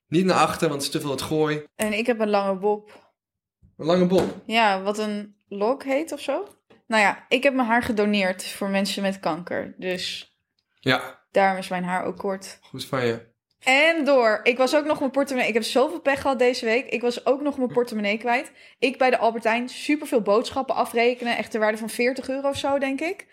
Niet naar achter, want het is te veel het gooi.
En ik heb een lange bob.
Een lange bob.
Ja, wat een lok heet of zo. Nou ja, ik heb mijn haar gedoneerd voor mensen met kanker. Dus
Ja,
daarom is mijn haar ook kort.
goed van je.
En door. Ik was ook nog mijn portemonnee. Ik heb zoveel pech gehad deze week. Ik was ook nog mijn portemonnee kwijt. Ik bij de Albertijn superveel boodschappen afrekenen. Echt de waarde van 40 euro of zo, denk ik.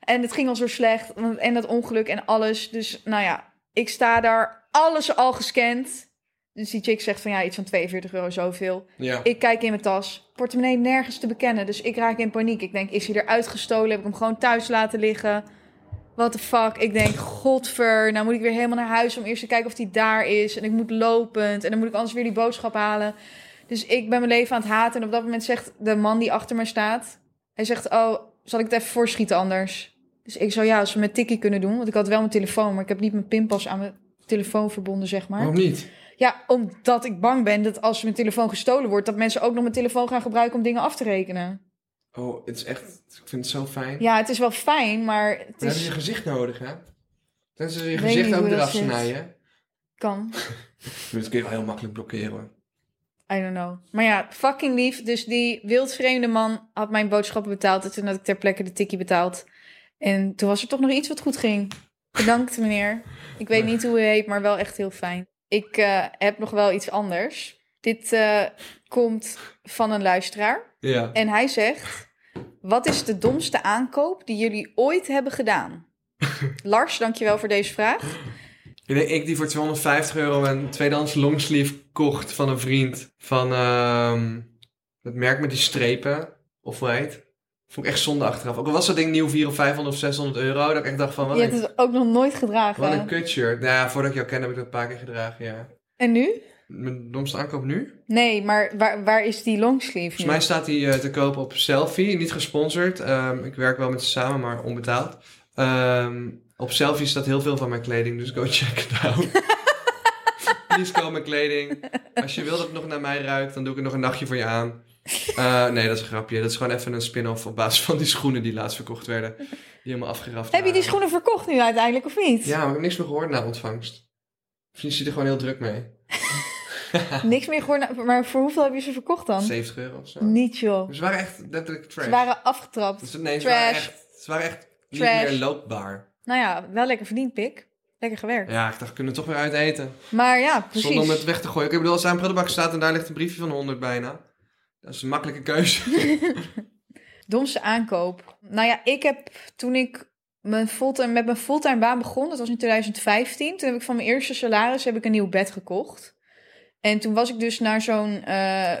En het ging al zo slecht. want- En dat ongeluk en alles. Dus nou ja, ik sta daar. Alles al gescand. Dus die chick zegt van ja, iets van 42 euro zoveel.
Ja.
Ik kijk in mijn tas. Portemonnee nergens te bekennen. Dus ik raak in paniek. Ik denk, is hij eruit gestolen? Heb ik hem gewoon thuis laten liggen? What the fuck? Ik denk, godver. Nou moet ik weer helemaal naar huis om eerst te kijken of hij daar is. En ik moet lopend. En dan moet ik anders weer die boodschap halen. Dus ik ben mijn leven aan het haten. En op dat moment zegt de man die achter mij staat... Hij zegt, oh, zal ik het even voorschieten anders? Dus ik zou ja, als we met tikkie kunnen doen. Want ik had wel mijn telefoon, maar ik heb niet mijn pinpas aan mijn telefoon verbonden, zeg maar.
Waarom niet?
Ja, omdat ik bang ben dat als mijn telefoon gestolen wordt, dat mensen ook nog mijn telefoon gaan gebruiken om dingen af te rekenen.
Oh, het is echt... Ik vind het zo fijn.
Ja, het is wel fijn, maar het
Dan hebben ze
is...
je gezicht nodig, hè? Dan ze je
Weet
gezicht
niet
ook
hoe dat
eraf
zit.
snijden.
Kan.
Dat kun je wel heel makkelijk blokkeren. hoor.
I don't know. Maar ja, fucking lief. Dus die wildvreemde man had mijn boodschappen betaald. En toen had ik ter plekke de tikkie betaald. En toen was er toch nog iets wat goed ging. Bedankt, meneer. Ik weet niet hoe u heet, maar wel echt heel fijn. Ik eh, heb nog wel iets anders. Dit eh, komt van een luisteraar.
Ja.
En hij zegt: Wat is de domste aankoop die jullie ooit hebben gedaan? Lars, dankjewel voor deze vraag.
Ik denk ik die voor 250 euro een tweedehands longsleeve kocht van een vriend. Van ehm dat merk met die strepen. Of hoe heet. Vond ik echt zonde achteraf. Ook al was dat ding nieuw 400 of 500 of 600 euro. Dat ik echt dacht van, wat
Je
een,
hebt het ook nog nooit
wat een
gedragen.
kutshirt. Nou ja, voordat ik jou ken heb ik dat een paar keer gedragen, ja.
En nu?
Mijn domste aankoop nu?
Nee, maar waar, waar is die longsleeve
Volgens
nu?
mij staat hij eh, te koop op Selfie. Niet gesponsord. Ehm, ik werk wel met ze samen, maar onbetaald. Ehm, op Selfie staat heel veel van mijn kleding, dus go check it out. Please koop mijn kleding. Als je wil dat het nog naar mij ruikt, dan doe ik er nog een nachtje voor je aan. Eh, nee, dat is een grapje. Dat is gewoon even een spin-off op basis van die schoenen die laatst verkocht werden. Die helemaal afgeraft
Heb je die
waren.
schoenen verkocht nu uiteindelijk of niet?
Ja, maar ik heb niks meer gehoord na ontvangst. Misschien zit er gewoon heel druk mee.
Niks meer gehoord, maar voor hoeveel heb je ze verkocht dan?
70 euro of zo.
Niet joh.
Ze waren echt letterlijk trash.
Ze waren afgetrapt.
Dus nee, ze
Trash.
waren echt, ze waren echt niet
Trash.
meer loopbaar.
Nou ja, wel lekker verdiend, pik. Lekker gewerkt.
Ja, ik dacht, we kunnen toch weer uit eten.
Maar ja, precies.
Zonder om het weg te gooien. Ik bedoel, als het aan een prullenbak staat en daar ligt een briefje van 100 bijna. Dat is een makkelijke keuze.
Domste aankoop. Nou ja, ik heb toen ik mijn fulltime, met mijn fulltime baan begon, dat was in 2015, toen heb ik van mijn eerste salaris heb ik een nieuw bed gekocht. En toen was ik dus naar zo'n eh,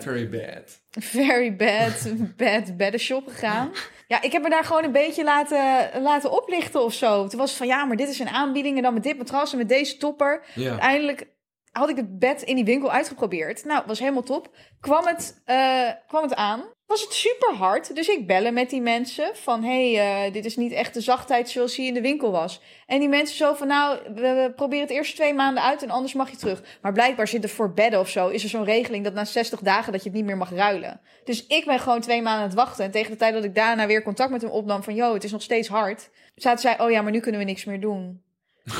Very bad.
very bad, bad beddenshop gegaan. Ja, ik heb me daar gewoon een beetje laten, laten oplichten of zo. Toen was het van, ja, maar dit is een aanbieding en dan met dit matras en met deze topper.
Ja.
Uiteindelijk had ik het bed in die winkel uitgeprobeerd. Nou, was helemaal top. Kwam het, eh, kwam het aan. Was het super hard. Dus ik bellen met die mensen van... hé, hey, eh, dit is niet echt de zachtheid zoals die in de winkel was. En die mensen zo van... nou, we, we proberen het eerst twee maanden uit en anders mag je terug. Maar blijkbaar zit er voor bedden of zo... is er zo'n regeling dat na 60 dagen dat je het niet meer mag ruilen. Dus ik ben gewoon twee maanden aan het wachten. En tegen de tijd dat ik daarna weer contact met hem opnam van... yo, het is nog steeds hard. Zaten zij, oh ja, maar nu kunnen we niks meer doen.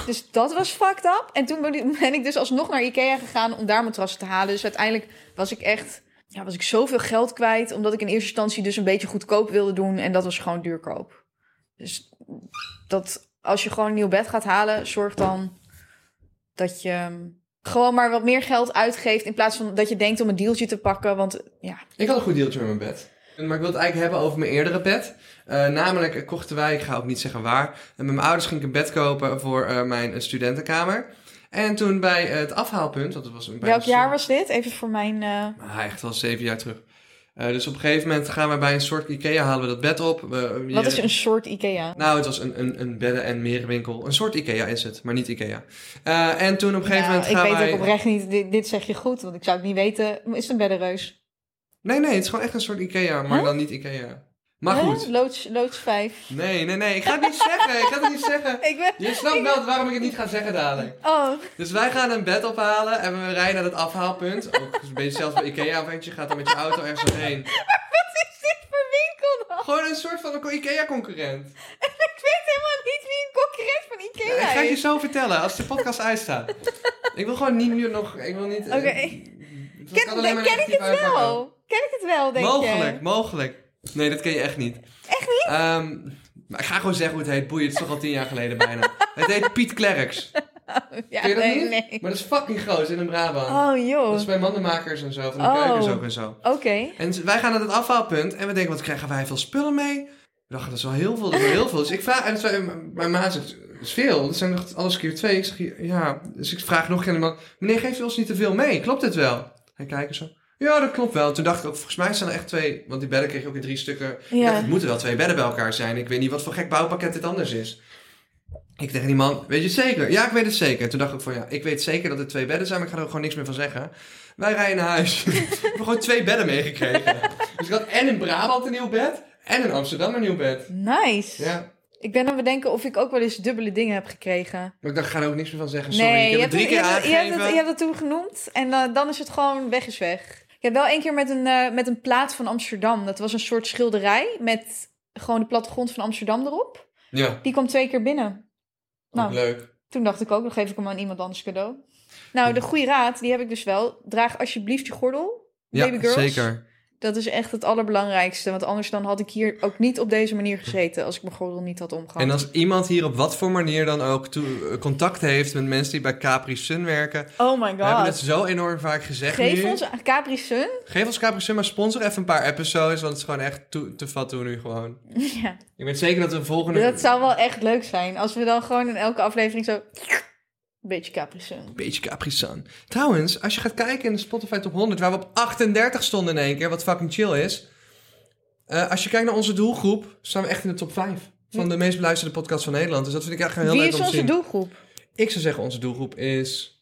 Dus dat was fucked up. En toen ben ik- ben ik dus alsnog naar Ikea gegaan om daar matrassen te halen. Dus uiteindelijk was ik echt... Ja, was ik zoveel geld kwijt. Omdat ik in eerste instantie dus een beetje goedkoop wilde doen. En dat was gewoon duurkoop. Dus dat als je gewoon een nieuw bed gaat halen... Zorg dan dat je ehm, gewoon maar wat meer geld uitgeeft... in plaats van dat je denkt om een deeltje te pakken. Want ja,
Ik had een goed deeltje met mijn bed. Maar ik wil het eigenlijk hebben over mijn eerdere bed. Eh, namelijk eh, kochten wij, ik ga ook niet zeggen waar... En met mijn ouders ging ik een bed kopen voor eh, mijn eh, studentenkamer. En toen bij eh, het afhaalpunt... Want het was een, bij
welk
een
jaar
soort-
was dit? Even voor mijn... eh,
Ah, echt wel zeven jaar terug. Eh, dus op een gegeven moment gaan we bij een soort Ikea halen we dat bed op. We- eh,
Wat
je-
is een soort Ikea?
Nou, het was een, een, een bedden- en merenwinkel. Een soort Ikea is het, maar niet Ikea. Eh, en toen op een gegeven
Nou,
moment
ik
gaan
weet
wij...
ook oprecht niet, dit, dit zeg je goed, want ik zou het niet weten. Is het een beddenreus?
Nee, nee, het is gewoon echt een soort Ikea, maar dan niet Ikea. Maar
Hè?
goed.
Loods, loods 5.
Nee, nee, nee, ik ga het niet zeggen. Ik ga het niet zeggen.
Ik ben...
Je snapt wel waarom ik het niet ga zeggen dadelijk.
Oh,
Dus wij gaan een bed ophalen en we rijden naar het afhaalpunt. Ook een beetje zelfs bij Ikea, want je gaat dan met je auto ergens doorheen.
wat is dit voor winkel dan?
Gewoon een soort van een Ikea-concurrent.
Ik weet helemaal niet wie een concurrent van
Ja, ik dus-
Ikea
ga het je
is.
zo vertellen als de podcast uitstaat. Ik wil gewoon niet meer nog. Ik wil niet. eh,
Oké, ken, ken ik het wel? Ken ik het wel, denk
Mogelijk,
je?
mogelijk. Nee, dat ken je echt niet. Echt niet? maar ik ga gewoon zeggen hoe het heet. Boeien, het is toch al tien jaar geleden bijna. het heet Piet Klerks.
Ja,
Ken je dat
nee,
niet?
nee.
Maar dat is fucking groot in de Brabant.
Oh,
Dat is
joh.
bij mandenmakers en zo, van de
Oh.
keukens ook en zo.
Oké.
En z- wij gaan naar het afhaalpunt en we denken, wat krijgen wij veel spullen mee? We dachten, dat is wel heel veel, dat is wel heel veel. Dus ik vraag, en zei- m- mijn ma zegt, dat is veel. Dat zijn nog alles keer twee. Ik zeg, ja, dus ik vraag nog een man, meneer, geeft u ons niet te veel mee? Klopt dit wel? Hij kijkt zo. Ja, dat klopt wel. Toen dacht ik ook, volgens mij zijn er echt twee, want die bedden kreeg je ook in drie stukken. Ik
Ja.
dacht, het moeten wel twee bedden bij elkaar zijn. Ik weet niet wat voor gek bouwpakket dit anders is. Ik tegen die man, weet je het zeker? Ja, ik weet het zeker. Toen dacht ik van, ja, ik weet zeker dat het twee bedden zijn, maar ik ga er ook gewoon niks meer van zeggen. Wij rijden naar huis. We hebben gewoon twee bedden meegekregen. Dus ik had en in Brabant een nieuw bed, en in Amsterdam een nieuw bed.
Nice.
Ja.
Ik ben aan het bedenken of ik ook wel eens dubbele dingen heb gekregen.
Maar ik dacht, ik ga er ook niks meer van zeggen. Sorry, ik heb
je
het
hebt
drie
het-
keer
je hebt het- je hebt
aangegeven.
het- Je hebt dat toen genoemd en dan- dan is het gewoon weg is weg. Ik heb wel één keer met een, eh, met een plaat van Amsterdam. Dat was een soort schilderij met gewoon de plattegrond van Amsterdam erop.
Ja, ook
Die kwam twee keer binnen. Nou,
Oh, leuk.
toen dacht ik ook, dan geef ik hem aan iemand anders cadeau. Nou, de goede raad, die heb ik dus wel. Draag alsjeblieft je gordel, baby
ja,
girls.
zeker.
Dat is echt het allerbelangrijkste. Want anders dan had ik hier ook niet op deze manier gezeten... als ik mijn gordel niet had omgehad.
En als iemand hier op wat voor manier dan ook toe- contact heeft met mensen die bij Capri Sun werken.
Oh my
We hebben het
god.
zo enorm vaak gezegd
Geef
nu.
ons aan Capri Sun.
Geef ons Capri Sun maar sponsor even een paar episodes, want het is gewoon echt toe- te fat toe nu gewoon.
Ja,
Ik weet zeker dat we de volgende...
dat zou wel echt leuk zijn. Als we dan gewoon in elke aflevering zo... Beetje Capri Sun.
Beetje Capri Sun. Trouwens, als je gaat kijken in de Spotify Top 100, waar we op 38 stonden in één keer, wat fucking chill is. eh, als je kijkt naar onze doelgroep, staan we echt in de top 5 van de meest beluisterde podcast van Nederland. Dus dat vind ik echt heel
Wie
leuk
is
om te
onze
zien.
doelgroep?
Ik zou zeggen, onze doelgroep is...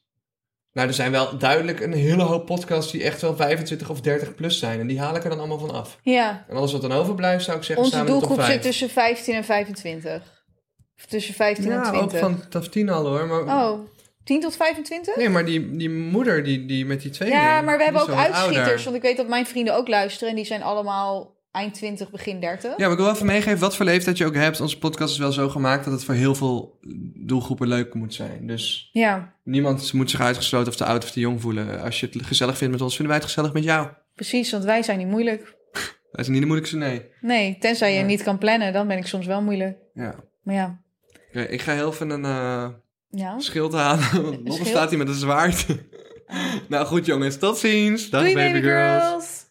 Nou, er zijn wel duidelijk een hele hoop podcasts die echt wel 25 of 30 plus zijn. En die haal ik er dan allemaal van af.
Ja,
En alles wat dan overblijft, zou ik zeggen,
onze
staan we in de top
doelgroep
5.
zit tussen 15 en 25. Of tussen 15 en
Ja, ook
20.
van taf 10 al hoor. Maar...
Oh, 10 tot 25?
Nee, maar die, die moeder die, die met die twee
Ja,
dingen,
maar we hebben ook
die is wel wat ouder.
uitschieters. Want ik weet dat mijn vrienden ook luisteren. En die zijn allemaal eind 20, begin 30.
Ja, maar ik wil even meegeven wat voor leeftijd je ook hebt. Onze podcast is wel zo gemaakt dat het voor heel veel doelgroepen leuk moet zijn. Dus
Ja,
niemand moet zich uitgesloten of te oud of te jong voelen. Als je het gezellig vindt met ons, vinden wij het gezellig met jou.
precies. Want wij zijn niet moeilijk.
Dat is niet de moeilijkste, nee.
Nee, tenzij je
Nee.
niet kan plannen. Dan ben ik soms wel moeilijk.
Ja.
Maar ja.
Oké, ik ga heel even een eh,
ja.
schild halen. Want Lotte
Oh. schild?
staat hier met een zwaard. nou goed, jongens. Tot ziens. Dag,
Doei
baby girls.
girls.